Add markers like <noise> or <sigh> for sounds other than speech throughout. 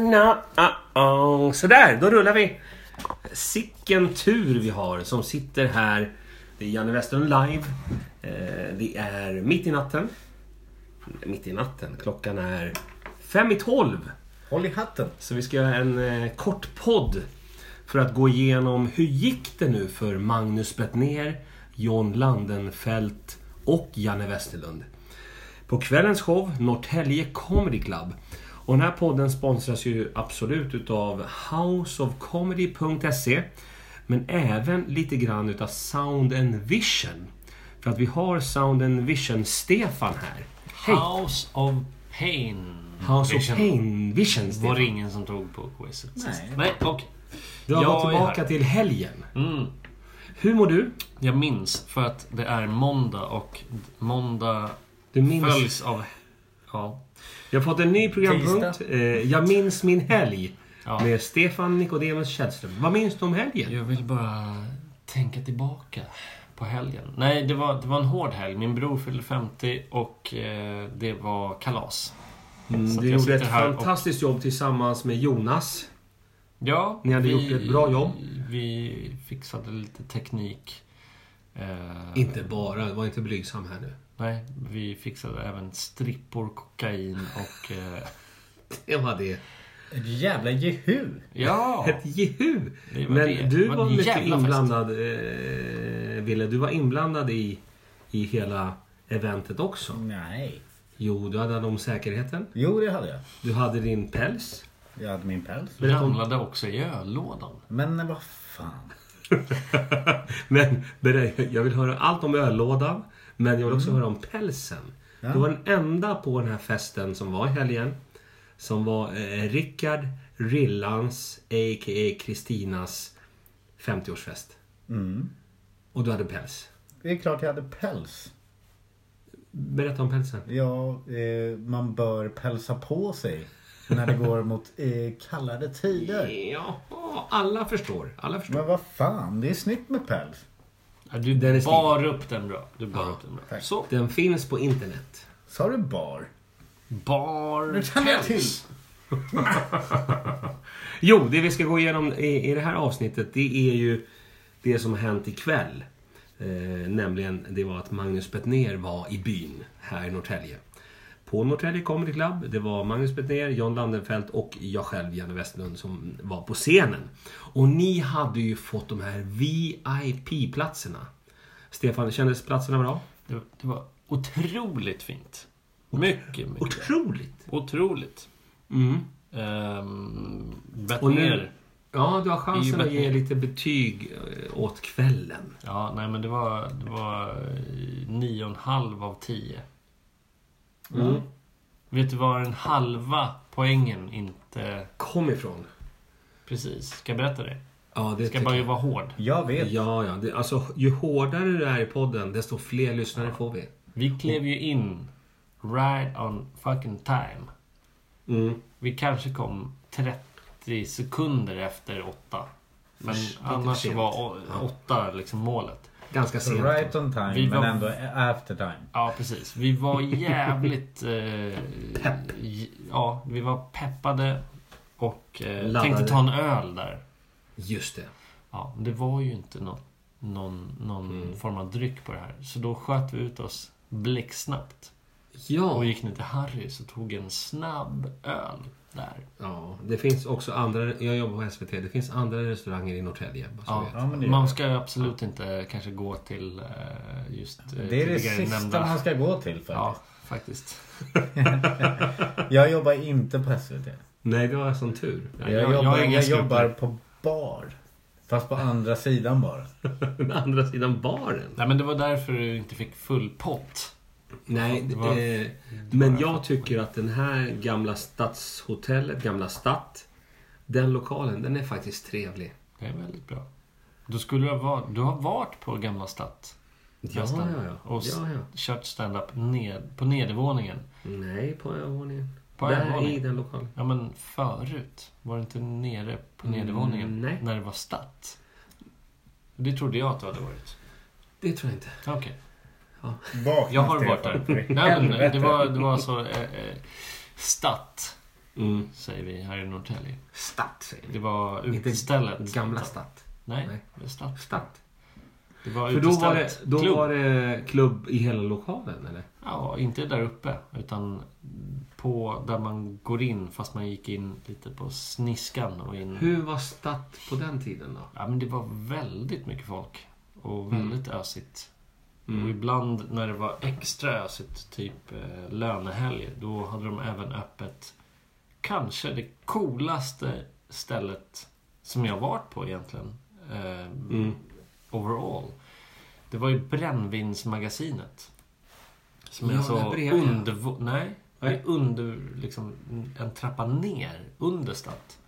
No, uh, oh. Sådär, då rullar vi. Sicken tur vi har som sitter här. Det är Janne Westerlund live. Eh, Det är mitt i natten. Mitt i natten. Klockan är fem i tolv. Håll i hatten. Så vi ska göra en eh, kort podd för att gå igenom hur gick det nu för Magnus Bettner, John Landenfelt och Janne Westerlund. På kvällens show Norrtälje Comedy Club. Och den här podden sponsras ju absolut utav houseofcomedy.se men även lite grann utav Sound and Vision. För att vi har Sound and Vision-Stefan här. Hej! House of Pain. House Vision. of Pain Vision Var det Stefan. ingen som tog på quizet Nej. sist? Nej, okej. Du har Jag gått är tillbaka här. till helgen. Mm. Hur mår du? Jag minns för att det är måndag och måndag Du minns... följs av... Ja. Jag har fått en ny programpunkt. Eh, jag minns min helg. ja. Med Stefan Nicodemus Källström. Vad minns du om helgen? Jag vill bara tänka tillbaka på helgen. Nej, det var, det var en hård helg. Min bror fyllde 50 och eh, det var kalas. så att Mm, du jag gjorde sitter ett här och- fantastiskt jobb tillsammans med Jonas. Ja, Ni hade gjort ett bra jobb. Vi fixade lite teknik. Eh, Inte bara, var inte blygsam här nu. <laughs> Nej, vi fixade även strippor, kokain och... Eh, Det var det. Ett jävla jehu. ja! Ett jehu! Det var Men det. du Det var var, en mycket jävla fest. inblandad, eh, Ville. Du var inblandad i, i hela eventet också. Nej. Jo, du hade hand om säkerheten. Jo, det hade jag. Du hade din päls. Jag hade min päls. Ramlade också i öllådan. Men vad fan. <laughs> Men berä- jag vill höra allt om öllådan. Men jag vill också höra om pälsen. Du var den enda på den här festen som var i helgen. Som var eh, Rickard Rillans, a.k.a. Kristinas 50-årsfest. Och du hade päls. Det är klart jag hade päls. Berätta om pälsen. Ja, eh, man bör pälsa på sig. När det går mot eh, kallare tider. Jaha, alla förstår. Alla förstår. Men vad fan, det är snyggt med päls. Ja, Du Den är snygg. bar upp den bra. Du bar upp den bra. tack. Så, Den finns på internet. Sa du bar? bar... Nu känner jag till. päls. Jo, det vi ska gå igenom i, i det här avsnittet det är ju det som har hänt ikväll. Eh, nämligen det var att Magnus Bettner var i byn här i Norrtälje. På Norrtälje Comedy Club. Det var Magnus Bettner, John Landenfelt och jag själv, Janne Westlund, som var på scenen. Och ni hade ju fått de här VIP-platserna. Stefan, kändes platserna bra? Det, det var otroligt fint. Mycket, mycket. Otroligt! Otroligt. Mm. Ehm, Och nu- Bettner. Ja, du har chansen Det är att ju ge lite betyg eh, åt kvällen. Ja, nej men det var, det var eh, nio och en halv av tio. Mm. Vet du var den halva poängen inte... Kom ifrån. Precis. Ska jag berätta det? Ja, det Ska tycker bara ju jag. vara hård. Jag vet. Ja, ja. Det, alltså, ju hårdare du är i podden, desto fler lyssnare får vi. Vi klev ju in right on fucking time. Mm. Vi kanske kom 30 sekunder efter åtta. Men annars sent. var å- åtta liksom målet. Ganska sent. Right on time, Vi men var- ändå after time. Ja, precis. <laughs> Vi var jävligt... Eh, Pepp. j- Ja, vi var peppade och eh, Laddade. tänkte ta en öl där. Just det. Ja, men det var ju inte nå någon, någon Mm. form av dryck på det här. Så då sköt vi ut oss blixtsnabbt. Ja. Och gick ner till Harrys och tog en snabb öl där. ja. Det finns också andra... Jag jobbar på SVT. Det finns andra restauranger i Norrtälje. bara så Ja. du vet. Ja, men det, Man ska ju absolut inte kanske gå till eh, just eh, det är det tidigare sista nämnda- man ska gå till faktiskt. Ja, faktiskt. Jag jobbar inte på SVT. Nej, det var sån tur. <laughs> Nej, Jag, jag- jag jobbar, är jag, ganska jobbar på bar. Fast på andra sidan bara. Den andra sidan baren. Nej, men det var därför du inte fick full pott. Nej, Det var- eh, men jag tycker att den här gamla stadshotellet, gamla stadt. Den lokalen, den är faktiskt trevlig. Det är väldigt bra. Då skulle jag vara, du har varit på Gamla Stadt. Ja, nästan. ja, ja. Och s- ja, ja. kört stand-up ned, på nedervåningen. Nej, på övervåningen. På Där övervåningen? i den lokalen. Ja men förut, var det inte nere på Mm, nedervåningen? nej. När det var statt? Det trodde jag att du hade varit. Det tror jag inte. Okej, Vakna, jag har varit Stefan. <laughs> där. Nej, men det var, det var så eh, eh, statt. Mm. säger vi här i Norrtälje. Statt säger vi. Det var Inte utestället. Gamla Statt. Nej, Nej. det är statt. Statt. Det var För då var det, utestället. då Klubb. Mm. var det klubb i hela lokalen eller? Ja, inte där uppe. Utan på där man går in fast man gick in lite på sniskan och in. Hur var Statt på den tiden då? Ja, men det var väldigt mycket folk. Och Mm. väldigt ösigt. Och ibland när det var extra ösigt, typ eh, lönehelger, då hade de även öppet kanske det coolaste stället som jag varit på egentligen. Eh, Mm. Overall. Det var ju Brännvinsmagasinet. Som Ja, är så där bredvid. under... Nej, det är under liksom, en trappa ner, understatt.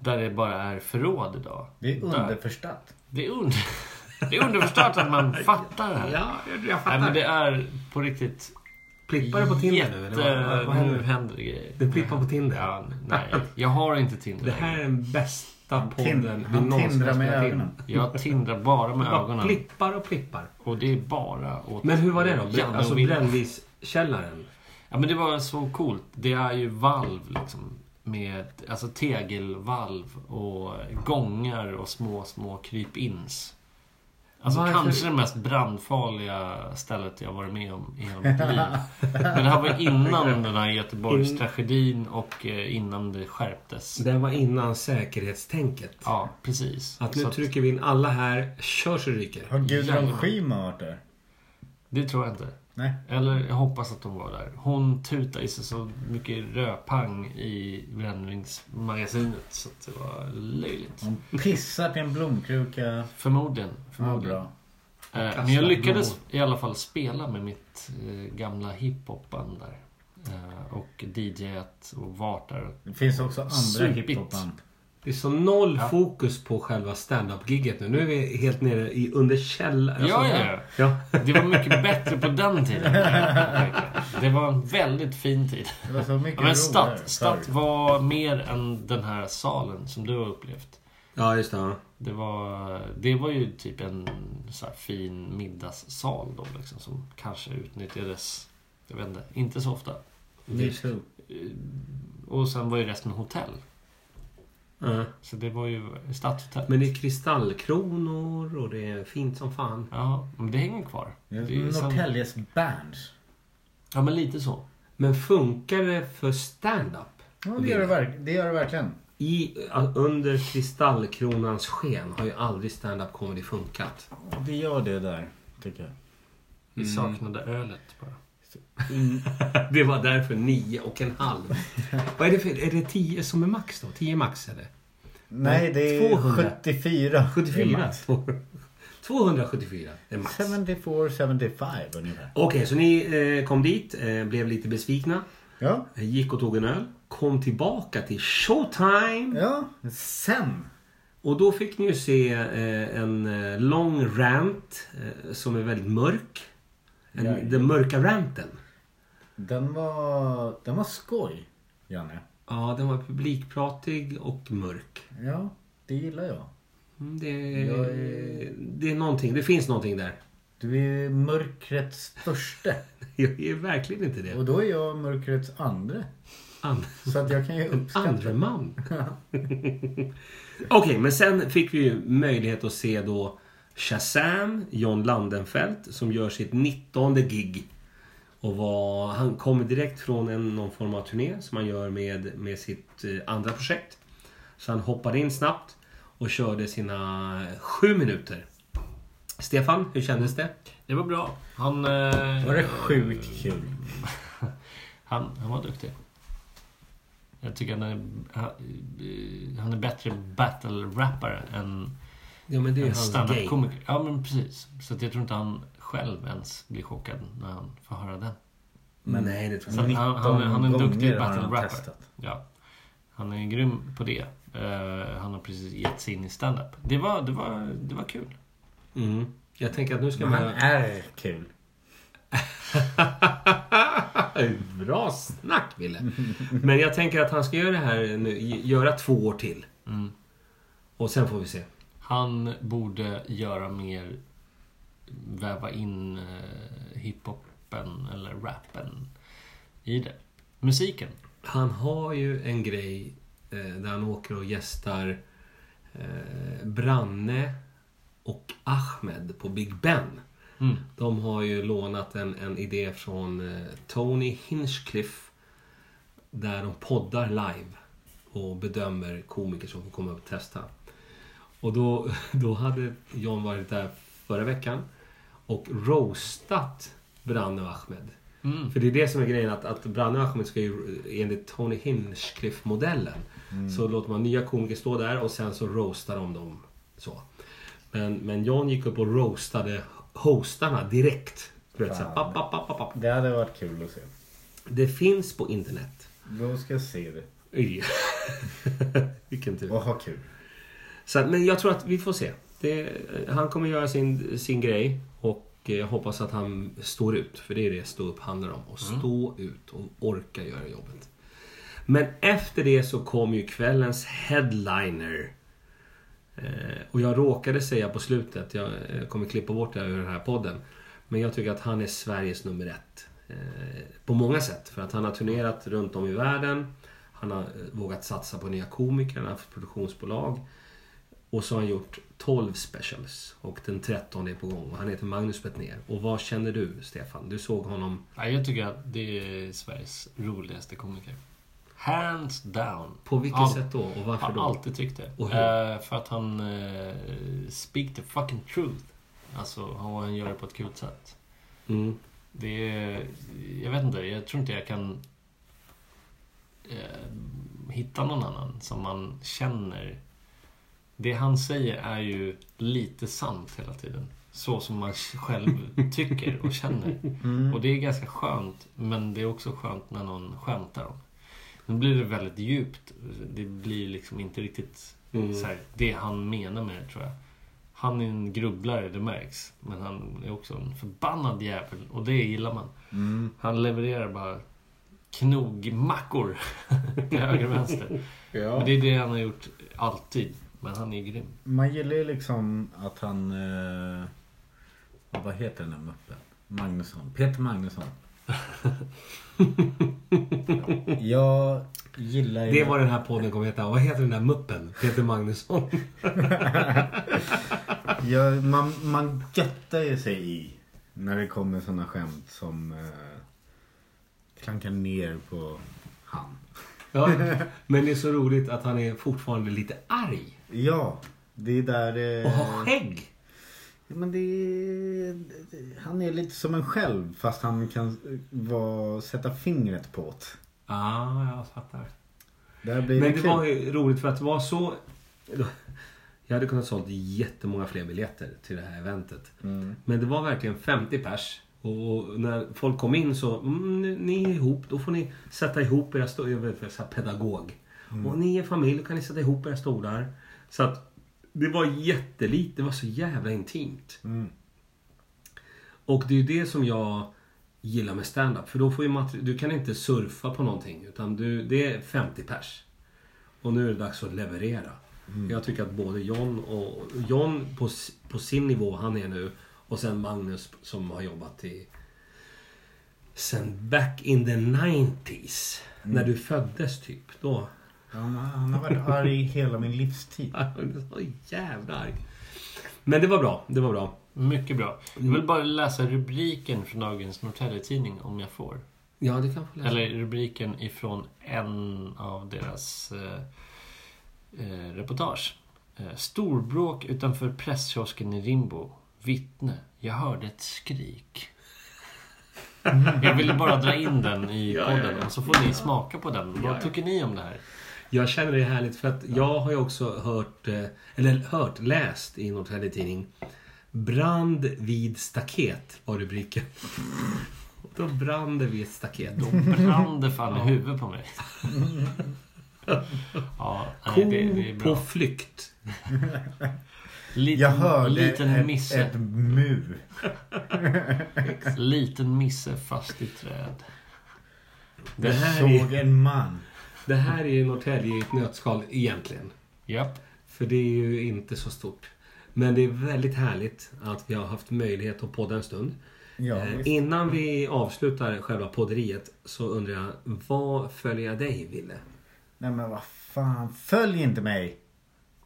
Där det bara är förråd idag. Det är Där. underförstatt. Det är, under... <laughs> det är underförstått <laughs> att man fattar det här. Ja, jag, jag Nej, men det... det är på riktigt... Plippar det på Tinder nu eller? Vad, vad, vad nu händer? händer det grejer. Det plippar på Tinder. Ja, nej, jag har inte Tinder. Det här är den bästa podden Tin- vi han någonsin har tindrar med spelat in. ögonen. Jag tindrar bara med Bara ögonen. plippar och plippar. Och det är bara åt Men hur var det då? Janne och Alltså Wille. brännviskällaren? Ja men det var så coolt. Det är ju valv liksom. Med alltså tegelvalv och gångar och små, små krypins. Alltså Varför- kanske det mest brandfarliga stället jag varit med om i hela mitt liv. Men det här var innan den här Göteborgstragedin och eh, innan det skärptes. Det var innan säkerhetstänket. Ja, precis. Att nu Så trycker vi in alla här, kör så det ryker. Har Gudrun Jävlar. Schyman varit där? Det tror jag inte. Nej. Eller jag hoppas att hon var där. Hon tutade i sig så mycket röpang i brännvinsmagasinet så att det var löjligt. Hon pissar till en blomkruka. Förmodligen. Ja, förmodligen. bra. Eh, Kastar men jag lyckades i alla fall spela med mitt eh, gamla hiphopband där. Eh, och DJat och varit där. Det finns också andra Supigt. hiphopband. Det är så noll Ja. fokus på själva stand-up-gigget nu. Nu är vi helt nere i under källaren. Ja, ja, ja. ja. Det var mycket bättre på den tiden. Det var en väldigt fin tid. Det var så mycket Ja, men roligare Statt, statt förr. var mer än den här salen som du har upplevt. Ja, just det. ja. Det var, det var ju typ en så här fin middagssal då liksom som kanske utnyttjades, jag vet inte, inte så ofta. Me too. Och sen var ju resten hotell. Ja. Så det var ju stadshotell. Men det är kristallkronor och det är fint som fan. Ja, men det hänger kvar. Det är Det är ju sam- Norrtäljes bands. Ja, men lite så. Men funkar det för stand-up? Ja, det gör det, verk- det gör det verkligen. I, under kristallkronans sken har ju aldrig stand-up comedy funkat. <laughs> Det gör det där, tycker jag. Vi Mm. saknade ölet bara. Det var därför nio och en <laughs> halv. Vad är det för... Är det tio som är max då? Tio max eller? Nej, det är 200. 74. 74? <laughs> 274 är max. 74, 75 ungefär. Okej, så ni eh, kom dit, eh, blev lite besvikna, Ja, eh, gick och tog en öl, kom tillbaka till showtime ja. Sen. och då fick ni ju se eh, en eh, lång rant eh, som är väldigt mörk. En, Jajamän. den mörka ranten. Den var, den var skoj, Janne. Ja, den var publikpratig och mörk. Ja, det gillar jag. Mm, Det, Jag det är någonting, det finns någonting där. <laughs> Du är mörkrets förste. Jag är verkligen inte det. Och då är jag mörkrets andre. And, Så att jag kan ju <laughs> uppskatta. andre man. <laughs> Okej, men sen fick vi ju möjlighet att se då Shazam, John Landenfelt, som gör sitt 19 gig. Och var, han kommer direkt från en, någon form av turné som han gör med, med sitt eh, andra projekt. Så han hoppade in snabbt och körde sina sju minuter. Stefan, hur kändes det? Det var bra. Han... eh, Var det sjukt kul? <laughs> Han, han var duktig. Jag tycker han är, han- eh, han är bättre battle-rappare än Ja, men det är ju en hans game. standup-komiker. Ja, men precis. Så att jag tror inte han själv ens blir chockad när han får höra den. Men nej, det tror Så jag att inte. han, han, är- han är en 19 duktig gånger har han battle-rappare. testat. Ja. Han är grym på det. Eh, han har precis gett sig in i standup. Det var, det var, det var kul. Mm. Jag tänker att nu ska Men han man... är kul. <laughs> Bra snack Wille! Men jag tänker att han ska göra det här nu, göra två år till. Och sen får vi se. Han borde göra mer... Väva in eh, hiphopen eller rappen i det. Musiken. Han har ju en grej eh, där han åker och gästar eh, Branne och Ahmed på Big Ben. Mm. De har ju lånat en, en idé från eh, Tony Hinchcliffe. Där de poddar live och bedömer komiker som får komma upp och testa. Och då, <laughs> då hade John varit där förra veckan och roastat Branne och Ahmed. Mm. För det är det som är grejen att, att Branne och Ahmed ska ju enligt Tony Hinchcliffe-modellen. Så låter man nya komiker stå där och sen så roastar de dem så. Men, men John gick upp och roastade hostarna direkt. Du vet, så här, Fan. papp, papp, papp, papp. Det hade varit kul att se. Det finns på internet. Då ska jag se det. <laughs> Oj. Vilken tur. Och ha kul. Så, att- men jag tror att vi får se. Det, han kommer göra sin, sin grej och eh, jag hoppas att han står ut. För det är det stå upp handlar om. Att stå ut och orka göra jobbet. Men efter det så kom ju kvällens headliner. Eh, och jag råkade säga på slutet, jag eh, kommer klippa bort det här ur den här podden. Men jag tycker att han är Sveriges nummer ett. Eh, på många sätt. För att han har turnerat runt om i världen. Han har eh, vågat satsa på nya komiker, han har haft produktionsbolag. Och så har han gjort 12 specials. Och den 13 är på gång. Och han heter Magnus Bettner. Och vad känner du, Stefan? Du såg honom Ja, jag tycker att det är Sveriges roligaste komiker. Hands down. på vilket All- sätt då? Och varför har då? alltid tyckt det. Och hur? Eh, för att han eh, speak the fucking truth. Alltså, och han gör det på ett kul sätt. Mm. Det är, jag vet inte, jag tror inte jag kan eh, hitta någon annan som man känner. Det han säger är ju lite sant hela tiden. Så som man själv tycker och känner. Mm. Och det är ganska skönt, men det är också skönt när någon skämtar om. Nu blir det väldigt djupt. Det blir liksom inte riktigt Mm. så här, det han menar med det, tror jag. Han är en grubblare, det märks. Men han är också en förbannad jävel och det gillar man. Mm. Han levererar bara knogmackor <laughs> till höger och vänster. Men Ja. det är det han har gjort alltid. Men han är grym. Man gillar ju liksom att han... Eh, vad heter den där muppen? Magnusson. <laughs> Peter Magnusson. jag gillar ju... Det var den här podden kommer heta. Vad heter den där muppen? Peter Magnusson. jag, man, man göttar ju sig i när det kommer sådana skämt som eh, klankar ner på han. <laughs> Ja. Men det är så roligt att han är fortfarande lite arg. Ja, det är där det... Och har skägg. Ja, Men det är... Han är lite som en själv fast han kan eh, vara, sätta fingret på det. Ah, jag fattar. Där blir Men det det kul. var ju roligt för att det var så... Jag hade kunnat sålt jättemånga fler biljetter till det här eventet. Men det var verkligen 50 pers. Och när folk kom in så, mm, ni- ni är ihop, då får ni sätta ihop era stolar. Jag vet, jag är så här pedagog. Och ni är familj, då kan ni sätta ihop era stolar. Så att det var jättelite, det var så jävla intimt. Och det är ju det som jag gillar med stand-up. För då får ju materi- du kan inte surfa på någonting. Utan du, det är 50 pers. Och nu är det dags att leverera. Jag tycker att både John och... John på, s- på sin nivå han är nu. Och sen Magnus som har jobbat i... Sen back in the 90s. När du föddes typ. Då... <laughs> han, han har varit arg hela min livstid. Jag blev så jävla arg. Men det var bra. Det var bra. Mycket bra. Jag vill bara läsa rubriken från dagens Norrtäljetidning om jag får. Ja, det kan jag få läsa. Eller rubriken ifrån en av deras eh, eh, reportage. Eh, Storbråk utanför presskiosken i Rimbo. Vittne. Jag hörde ett skrik. Jag ville bara dra in den i Mm. Ja, ja, podden ja. och så får ni smaka på den. Vad Ja, ja. tycker ni om <laughs> det här? Jag känner det är härligt för att jag har ju också hört, eh, eller hört, läst i Norrtelje Tidning. Brand vid staket var <laughs> rubriken. Då brann det vid ett staket. Då brann det fan i huvudet <laughs> på mig. Ja, nej, Ko det, det är på bra. flykt. Liten, Jag hörde liten ett, misse. ett mu. Liten misse fast i träd. Det här, Såg är, en man. det här är ju Norrtälje i ett nötskal egentligen. Japp. För det är ju inte så stort. Men det är väldigt härligt att vi har haft möjlighet att podda en stund. Ja, Eh, visst. Innan vi avslutar själva podderiet så undrar jag, vad följer jag dig, Ville? Nej men vad fan, följ inte mig!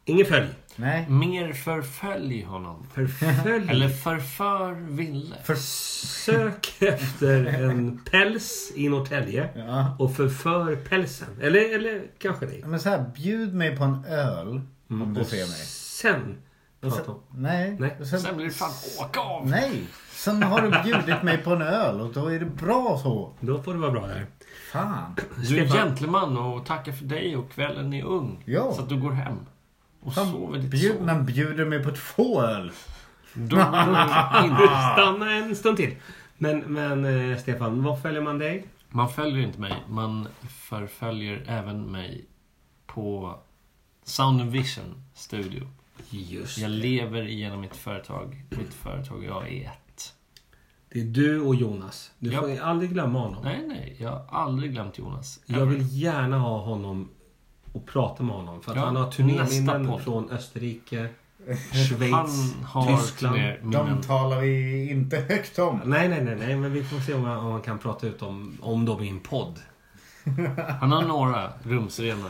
Ingen följ! Nej. Mer förfölj honom. Förfölj! Eller förför Ville. För... Sök efter en päls i Norrtälje Ja. och förför pälsen. Eller, eller kanske dig. Men så här, bjud mig på en öl Mm. om du ser Mm. mig. Sen Och prata om... nej. Nej. och Sen, Sen blir det fan åka av. nej. Sen har du bjudit mig på en öl och då är det bra så. Då får det vara bra där. Fan. Du är Stefan. gentleman och tackar för dig och kvällen är ung. Ja. Så att du går hem. Och sover ditt Bjud, sov. men bjuder mig på två öl. Då går du in. Stanna en stund till. Men, men eh, Stefan, vad följer man dig? Man följer inte mig, man förföljer även mig på Sound and Vision Studio. Just Jag lever genom mitt företag. Mitt företag, jag är ett. Det är du och Jonas. Du Ja. får ju aldrig glömma honom. Nej, nej, jag har aldrig glömt Jonas. Jag vill gärna ha honom och prata med honom. För att Ja, han har nästa turnéminnen podd. från <laughs> Österrike, Schweiz, Han har Tyskland. fler minnen. De talar vi inte högt om. Nej, nej, nej, nej, men vi får se om han, om han kan prata ut om, om dem i en podd. Han har några rumsrena.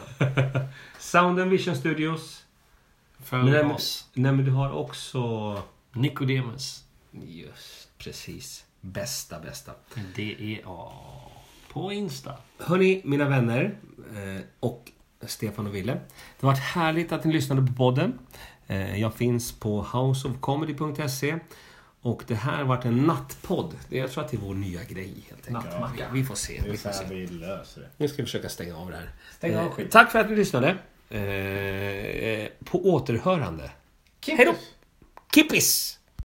Sound and Vision Studios. Följ Nej, men- oss. Nej, men du har också... Nicodemus. Just precis. Bästa, bästa. D-E-A. E På Insta. Hörni, mina vänner eh, och Stefan och Ville. Det har varit härligt att ni lyssnade på podden. Eh, Jag finns på houseofcomedy.se. Och det här har varit en nattpodd. Det- Jag tror att det är vår nya grej helt enkelt. Nattmacka. Vi får se. Det är Vi så får se. här vi löser det. Nu ska vi försöka stänga av det här. Stäng av Eh, skiten. Tack för att ni lyssnade. Eh, eh, På återhörande. Hej då! Kippis!